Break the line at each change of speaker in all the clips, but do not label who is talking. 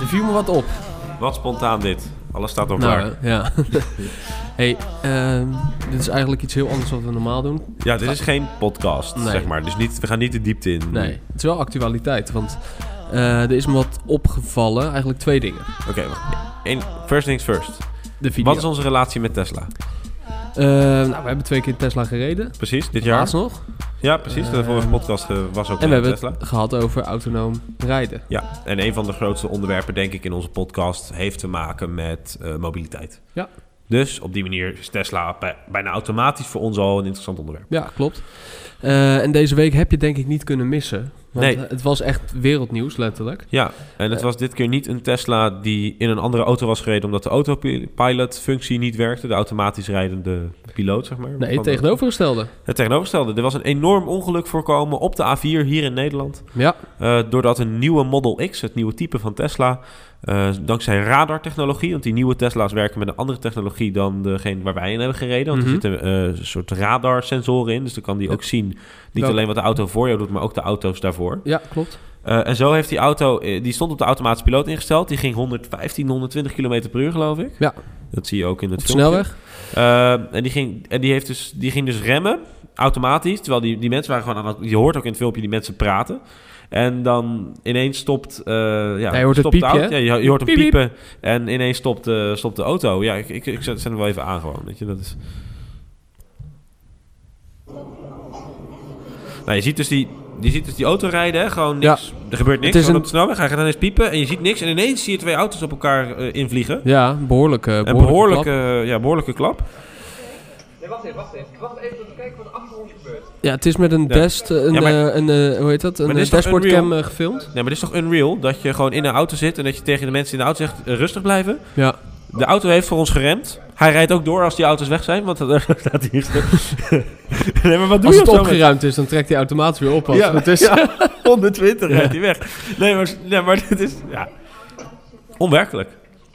Er viel me wat op.
Wat spontaan dit. Alles staat al klaar.
Nou, ja. hey, ehm, dit is eigenlijk iets heel anders dan we normaal doen.
ja, dit is geen podcast,
ah, Nee.
zeg maar. Dus niet, we gaan niet de diepte in.
Nee, het is wel actualiteit, want eh, er is me wat opgevallen. Eigenlijk twee dingen.
Oké, wacht. Eén- first things first.
De video.
Wat is onze relatie met Tesla?
Eh, nou, we hebben twee keer Tesla gereden.
Precies, dit jaar?
Laatst nog.
Ja, precies. de
Eh,
vorige podcast eh, was ook
En we
met
hebben
Tesla.
het gehad over autonoom rijden.
Ja, en een van de grootste onderwerpen, denk ik, in onze podcast heeft te maken met eh, mobiliteit.
Ja.
Dus op die manier is Tesla bij- bijna automatisch voor ons al een interessant onderwerp.
Ja, klopt. Eh, en deze week heb je het denk ik niet kunnen missen. Want
Nee.
het was echt wereldnieuws, letterlijk.
Ja, en het
Eh.
was dit keer niet een Tesla die in een andere auto was gereden omdat de autopilot-functie niet werkte, de automatisch rijdende piloot, zeg maar.
Nee,
Van
het
de-
tegenovergestelde.
Het tegenovergestelde. Er was een enorm ongeluk voorkomen op de A4 hier in Nederland.
Ja,
Eh, doordat een nieuwe Model X, het nieuwe type van Tesla, eh, dankzij radartechnologie, want die nieuwe Tesla's werken met een andere technologie dan degene waar wij in hebben gereden. Want
Mhm.
er zitten eh, een soort radarsensoren in, dus dan kan die
Ja.
ook zien niet
Wel-
alleen wat de auto voor jou doet, maar ook de auto's daarvoor.
ja klopt.
Eh, en zo heeft die auto, eh, die stond op de automatische piloot ingesteld. Die ging 115, 120 km per uur, geloof ik.
Ja.
Dat zie je ook in het
Op de
filmpje.
snelweg.
Eh, en die ging, en die heeft dus, die ging dus remmen, automatisch. Terwijl die, die mensen waren gewoon aan het... Je hoort ook in het filmpje die mensen praten. En dan ineens stopt... eh, ja,
Ja, je hoort het
stopt de
piepje,
auto.
hè?
Ja, je, je hoort hem
Piep, piep.
piepen. En ineens stopt, eh, stopt de auto. Ja, ik, ik, ik zet hem wel even aan gewoon. Weet je, dat is... Nou, je ziet dus die... Je ziet dus die auto rijden, hè? gewoon niks. Er gebeurt niks.
Het is
gewoon
een-
op de snelweg. Hij gaat ineens piepen en je ziet niks. En ineens zie je twee auto's op elkaar eh, invliegen.
Ja, behoorlijk. eh,
Een
behoorlijke
behoorlijke,
klap.
ja, behoorlijke klap.
Nee, wacht even, wacht even. Wacht even tot we kijken wat er achter ons gebeurt.
Ja, het is met een
Ja.
dest, eh, een,
Ja, maar-
eh, een eh, hoe heet dat? Een
dit is
eh,
toch
dashboardcam
Unreal?
eh, gefilmd.
Nee, maar dit is toch unreal? Dat je gewoon in een auto zit en dat je tegen de mensen in de auto zegt: eh, rustig blijven.
Ja,
De auto heeft voor ons geremd. Hij rijdt ook door als die auto's weg zijn, want dan staat hier. nee, maar wat
als het
doe je op zo'n moment?
opgeruimd is, dan trekt hij automatisch weer op. Als
Ja,
het goed is.
ja, 120
Ja.
rijdt hij weg. Nee, maar, nee, maar dit is. Ja. Onwerkelijk.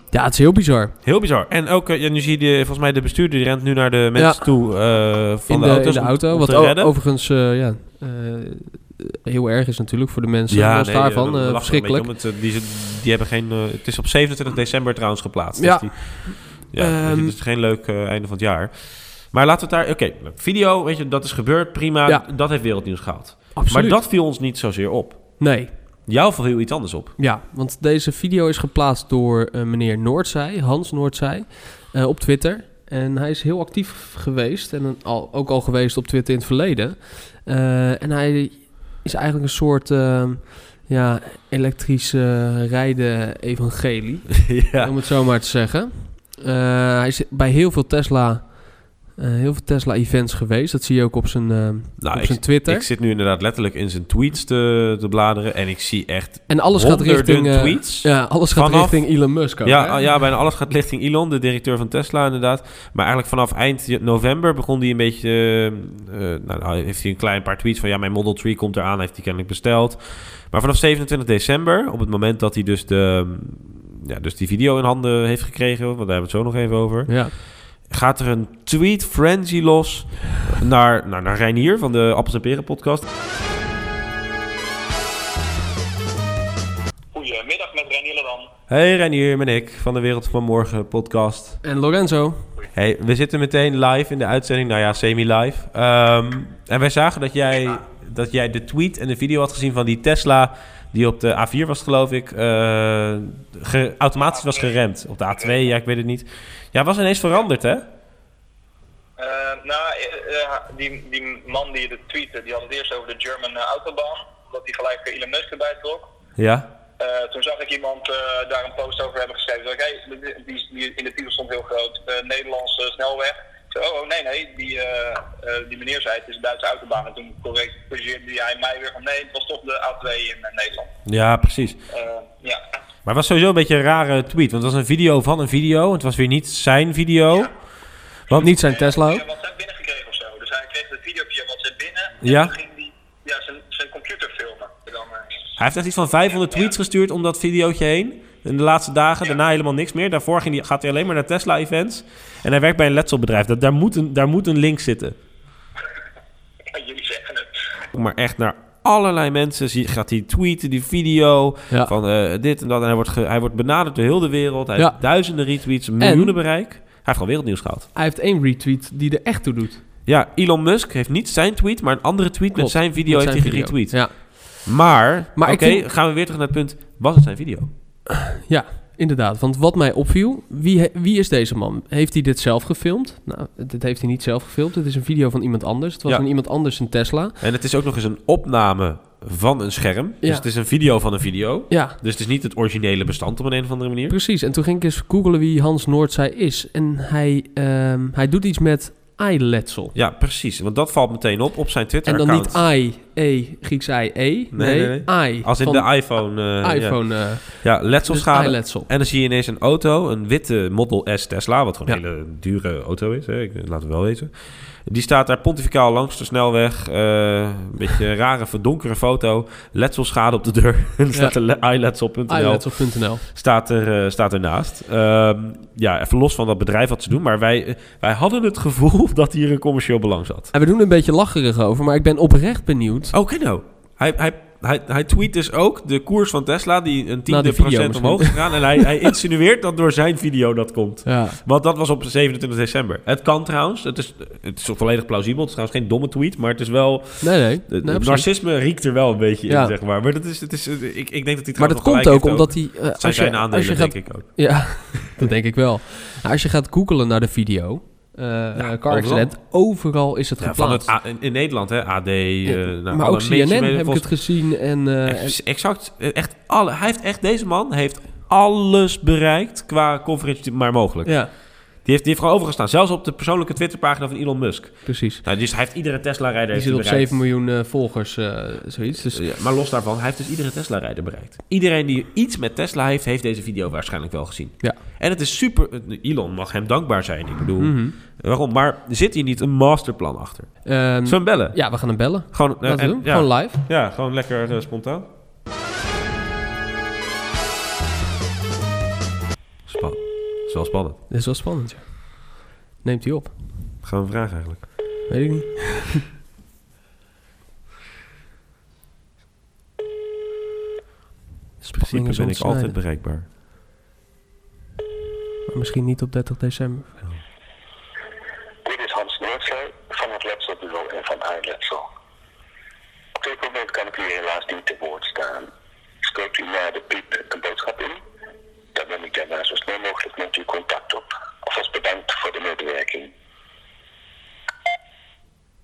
Ja, het is heel bizar.
Heel bizar. En ook, eh, ja, nu zie je de- volgens mij de bestuurder die rent nu naar de mensen
Ja.
toe eh, van
in
de,
de,
auto's
in de
om-
auto.
om
wat
te
o-
redden.
overigens eh, ja, eh, heel erg is natuurlijk voor de mensen.
Ja,
los
nee,
daarvan, eh,
we- we lachen er een
verschrikkelijk.
beetje om. Het, eh, die, ze- die hebben geen, eh, het is op 27 december trouwens geplaatst.
Ja.
Dus die, ja, weet je,
Ehm.
het is geen leuk eh, einde van het jaar. Maar laten we het daar... Oké, video, weet je, dat is gebeurd, prima.
Ja.
Dat heeft wereldnieuws gehaald.
Absoluut.
Maar dat viel ons niet zozeer op.
Nee,
Jou viel heel iets anders op.
ja, want deze video is geplaatst door eh, meneer Noordzij, Hans Noordzij, eh, op Twitter. En hij is heel actief geweest en een- al, ook al geweest op Twitter in het verleden. Eh, en hij is eigenlijk een soort eh, ja, elektrische rijden evangelie.
ja.
om het zo maar te zeggen. Eh, hij is bij heel veel Tesla, eh, heel veel Tesla events geweest. Dat zie je ook op zijn, eh,
Nou,
op
ik,
zijn Twitter.
ik zit nu inderdaad letterlijk in zijn tweets te, te bladeren. En ik zie echt
en alles gaat
honderden
richting eh,
tweets.
ja, alles gaat
vanaf-
richting Elon Musk. Ook,
Ja,
hè?
ah, ja, bijna alles gaat richting Elon, de directeur van Tesla inderdaad. Maar eigenlijk vanaf eind je- november begon hij een beetje... eh, eh, nou, nou, heeft hij een klein paar tweets van... Ja, mijn Model 3 komt eraan, heeft hij kennelijk besteld. Maar vanaf 27 december, op het moment dat hij dus, de, ja, dus die video in handen heeft gekregen... want daar hebben we het zo nog even over...
Ja.
gaat er een tweet frenzy los naar, nou, naar, naar Reinier van de Appels en Peren podcast.
Goedemiddag met Reinier dan.
Hey Reinier, ben ik van de Wereld van Morgen podcast.
En Lorenzo,
Hey, we zitten meteen live in de uitzending, nou ja, semi-live. Ehm, en wij zagen dat jij, dat jij de tweet en de video had gezien van die Tesla... die op de A4 was, geloof ik, eh, ge- automatisch was geremd. Op de A2, ja, ik weet het niet. Ja, was ineens veranderd, hè?
Eh, nou, eh, eh, die, die man die het tweette, die had het eerst over de German eh, autobahn. Omdat hij gelijk eh, Elon Musk erbij trok.
Ja.
Eh, toen zag ik iemand eh, daar een post over hebben geschreven. Toen dacht ik, hey, die- die, die, in de titel stond heel groot, eh, Nederlandse snelweg. Ik zei, oh, oh, nee, nee, die, eh, eh, die meneer zei het is een Duitse autobahn. En toen correct, corrigeerde hij mij weer van nee, het was toch de A2 in eh, Nederland.
Ja, precies.
Eh, ja.
Maar het was sowieso een beetje een rare tweet. Want het was een video van een video. Het was weer niet zijn video. Want
niet zijn Tesla
Hij
ook.
had WhatsApp binnengekregen of zo. Dus hij kreeg het video via WhatsApp binnen. En
Ja.
toen ging hij ja, zijn, zijn computer filmen. En Dan, eh,
Hij heeft echt iets van 500 tweets gestuurd om dat videootje heen. In de laatste dagen, daarna helemaal niks meer. Daarvoor ging hij, gaat hij alleen maar naar Tesla-events. En hij werkt bij een letselbedrijf. Dat, daar, moet een, daar moet een link zitten. Maar echt naar allerlei mensen zie- gaat hij tweeten, die video
Ja.
van eh, dit en dat. En hij wordt, ge- hij wordt benaderd door heel de wereld. Hij
Ja.
heeft duizenden retweets, miljoenen bereik. Hij heeft gewoon wereldnieuws gehad.
Hij heeft één retweet die er echt toe doet.
Ja, Elon Musk heeft niet zijn tweet, maar een andere tweet
Klopt,
met zijn video
met
heeft
zijn
hij
video.
geretweet.
Ja,
Maar,
Maar ik
oké,
vind-
gaan we weer terug naar het punt. Was het zijn video?
ja, inderdaad. Want wat mij opviel, wie, he- wie is deze man? Heeft hij dit zelf gefilmd? Nou, dit heeft hij niet zelf gefilmd. Het is een video van iemand anders. Het was
Ja.
van iemand anders een Tesla.
En het is ook nog eens een opname van een scherm.
Ja.
Dus het is een video van een video.
Ja,
Dus het is niet het originele bestand op een, een of andere manier.
precies. En toen ging ik eens googelen wie Hans Noordzij is. En hij, ehm, hij doet iets met eyeletsel.
Ja, precies. Want dat valt meteen op op zijn
En dan
Twitter-account.
niet I, E, Grieks I, E. Nee,
nee,
I.
Als in
van
de iPhone. eh, ja.
iPhone. eh,
Ja,
dus
letselschade.
eyeletsel.
en dan zie je ineens een auto, een witte Model S Tesla, wat gewoon
Ja.
een hele dure auto is, hè? Ik, laten we wel weten. Die staat daar pontificaal langs de snelweg. eh, een beetje een rare, verdonkere foto. Letselschade op de deur. en er staat le- eyeletsel.nl
Eyeletsel.nl.
staat, er, eh, staat ernaast. Ehm, ja, even los van dat bedrijf wat ze doen. Maar wij, eh, wij hadden het gevoel dat hier een commercieel belang zat.
En we doen er een beetje lacherig over, maar ik ben oprecht benieuwd.
Oh, kijk nou. Hij, hij, hij, hij tweet dus ook de koers van Tesla, die een tiende
Nou, die video
procent
misschien.
omhoog is gegaan. En hij, hij insinueert dat door zijn video dat komt.
Ja.
Want dat was op 27 december. Het kan trouwens. Het is, het is volledig plausibel. Het is trouwens geen domme tweet. Maar het is wel...
Nee, nee. nee
Het
precies.
narcisme riekt er wel een beetje
Ja.
in, zeg maar. Maar dat is, het is, het- ik, ik denk dat hij
maar dat
trouwens wel
komt
gelijk
ook
heeft
omdat hij... eh,
Zijn,
als, je,
zijn aandelen,
als je gaat,
denk ik ook.
Ja, dat denk ik wel. Nou, als je gaat googelen naar de video... eh eh, car accident, overal is het
Ja, van
geplaatst.
het, A- in, in Nederland, hè. AD, eh, nou,
maar
alle
ook CNN
mainstream media
heb ik
volgens-
het gezien. En, eh, en-
Ex- Exact. Echt alle, hij heeft echt, deze man heeft alles bereikt qua coverage die- maar mogelijk.
ja,
Die, heeft, die heeft gewoon overgestaan. Zelfs op de persoonlijke Twitterpagina van Elon Musk.
precies.
Nou, dus hij heeft iedere Tesla-rijder
Die
heeft
zit
hij
op
bereikt.
7 miljoen eh, volgers, eh, zoiets. Dus
Ja, maar los daarvan, hij heeft dus iedere Tesla-rijder bereikt. Iedereen die iets met Tesla heeft, heeft deze video waarschijnlijk wel gezien.
Ja.
En het is super... Elon mag hem dankbaar zijn, ik bedoel.
Mhm.
Waarom? Maar zit hier niet een masterplan achter?
ehm,
Zullen we hem bellen?
ja, we gaan hem bellen.
Gewoon, eh,
Laten we
en-
doen.
ja.
Gewoon live.
Ja, gewoon lekker eh, spontaan. Spannend. Dat is wel spannend.
Dit is wel spannend, ja. Neemt hij op?
Gaan we vragen eigenlijk.
Weet ik niet.
In principe ben ik altijd bereikbaar.
Maar misschien niet op 30 december.
Dit is Hans Noordzij van het Letselbureau en van Aardletsel. Op dit moment kan ik u helaas niet te woord staan. Spreekt u na de piep een boodschap in? Dan neem ik daarna zo snel mogelijk met u contact op. Alvast bedankt voor de medewerking.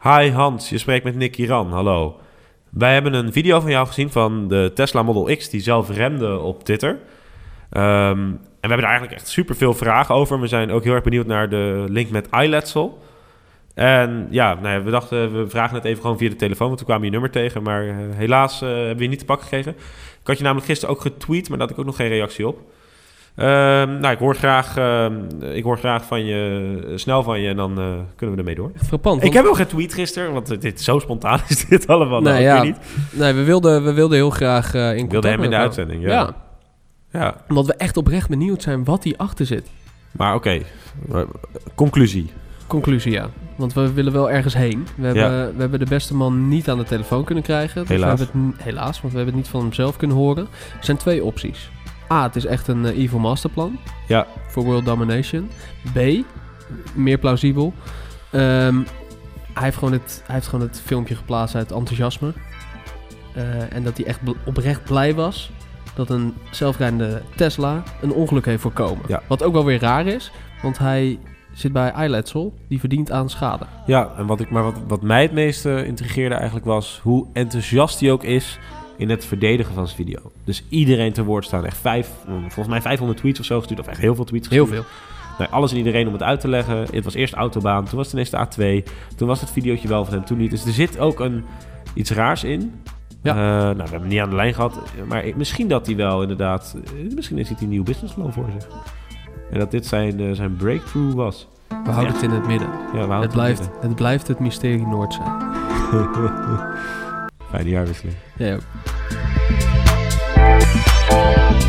Hi Hans, je spreekt met Nick Ran. Hallo. Wij hebben een video van jou gezien van de Tesla Model X die zelf remde op Twitter. Ehm, en we hebben er eigenlijk echt super veel vragen over. We zijn ook heel erg benieuwd naar de link met iLetsel. En ja, nou ja, we dachten, we vragen het even gewoon via de telefoon, want toen kwamen je nummer tegen. Maar eh, helaas eh, hebben we je niet te pak gekregen. Ik had je namelijk gisteren ook getweet, maar daar had ik ook nog geen reactie op. Ehm, nou, ik hoor, graag, ehm, ik hoor graag van je, snel van je en dan eh, kunnen we ermee door.
Frappant.
Ik
want-
heb wel getweet gisteren, want dit- dit, zo spontaan is dit allemaal.
nee,
nou,
ja,
ik weet niet.
nee, we wilden, we wilden heel graag eh in contact
wilden hem
met
in de
elkaar.
uitzending, ja. Ja,
omdat we echt oprecht benieuwd zijn wat hierachter zit.
maar oké. Eh, Conclusie.
Conclusie, ja. Want we willen wel ergens heen. We hebben, we hebben de beste man niet aan de telefoon kunnen krijgen. Dus we
Helaas.
hebben het n- helaas, want we hebben het niet van hem zelf kunnen horen. Er zijn twee opties. A, het is echt een eh, evil masterplan.
Ja,
voor World Domination. B, meer plausibel. Ehm, hij, heeft gewoon het, hij heeft gewoon het filmpje geplaatst uit enthousiasme. Eh, en dat hij echt bl- oprecht blij was dat een zelfrijdende Tesla een ongeluk heeft voorkomen.
Ja.
Wat ook wel weer raar is, want hij zit bij iLetsel, die verdient aan schade.
ja en wat, ik, maar wat, wat mij het meeste intrigeerde eigenlijk was hoe enthousiast hij ook is in het verdedigen van zijn video. Dus iedereen te woord staan. Echt vijf, mm, volgens mij 500 tweets of zo gestuurd. Of echt heel veel tweets
Heel
gestuurd.
veel.
Nou, alles en iedereen om het uit te leggen. Het was eerst Autobaan, toen was het ineens de A2. Toen was het videootje wel van hem, toen niet. Dus er zit ook een, iets raars in.
Ja.
Eh, nou, we hebben hem niet aan de lijn gehad. Maar ik- misschien dat hij wel inderdaad... eh, Misschien is hij een nieuw businessplan voor zich. En dat dit zijn, eh, zijn breakthrough was.
We houden het in het midden.
Ja, we houden
Het
het
blijft,
midden.
het blijft het mysterie Noord zijn.
Fijne jaarwisseling.
Jij ook.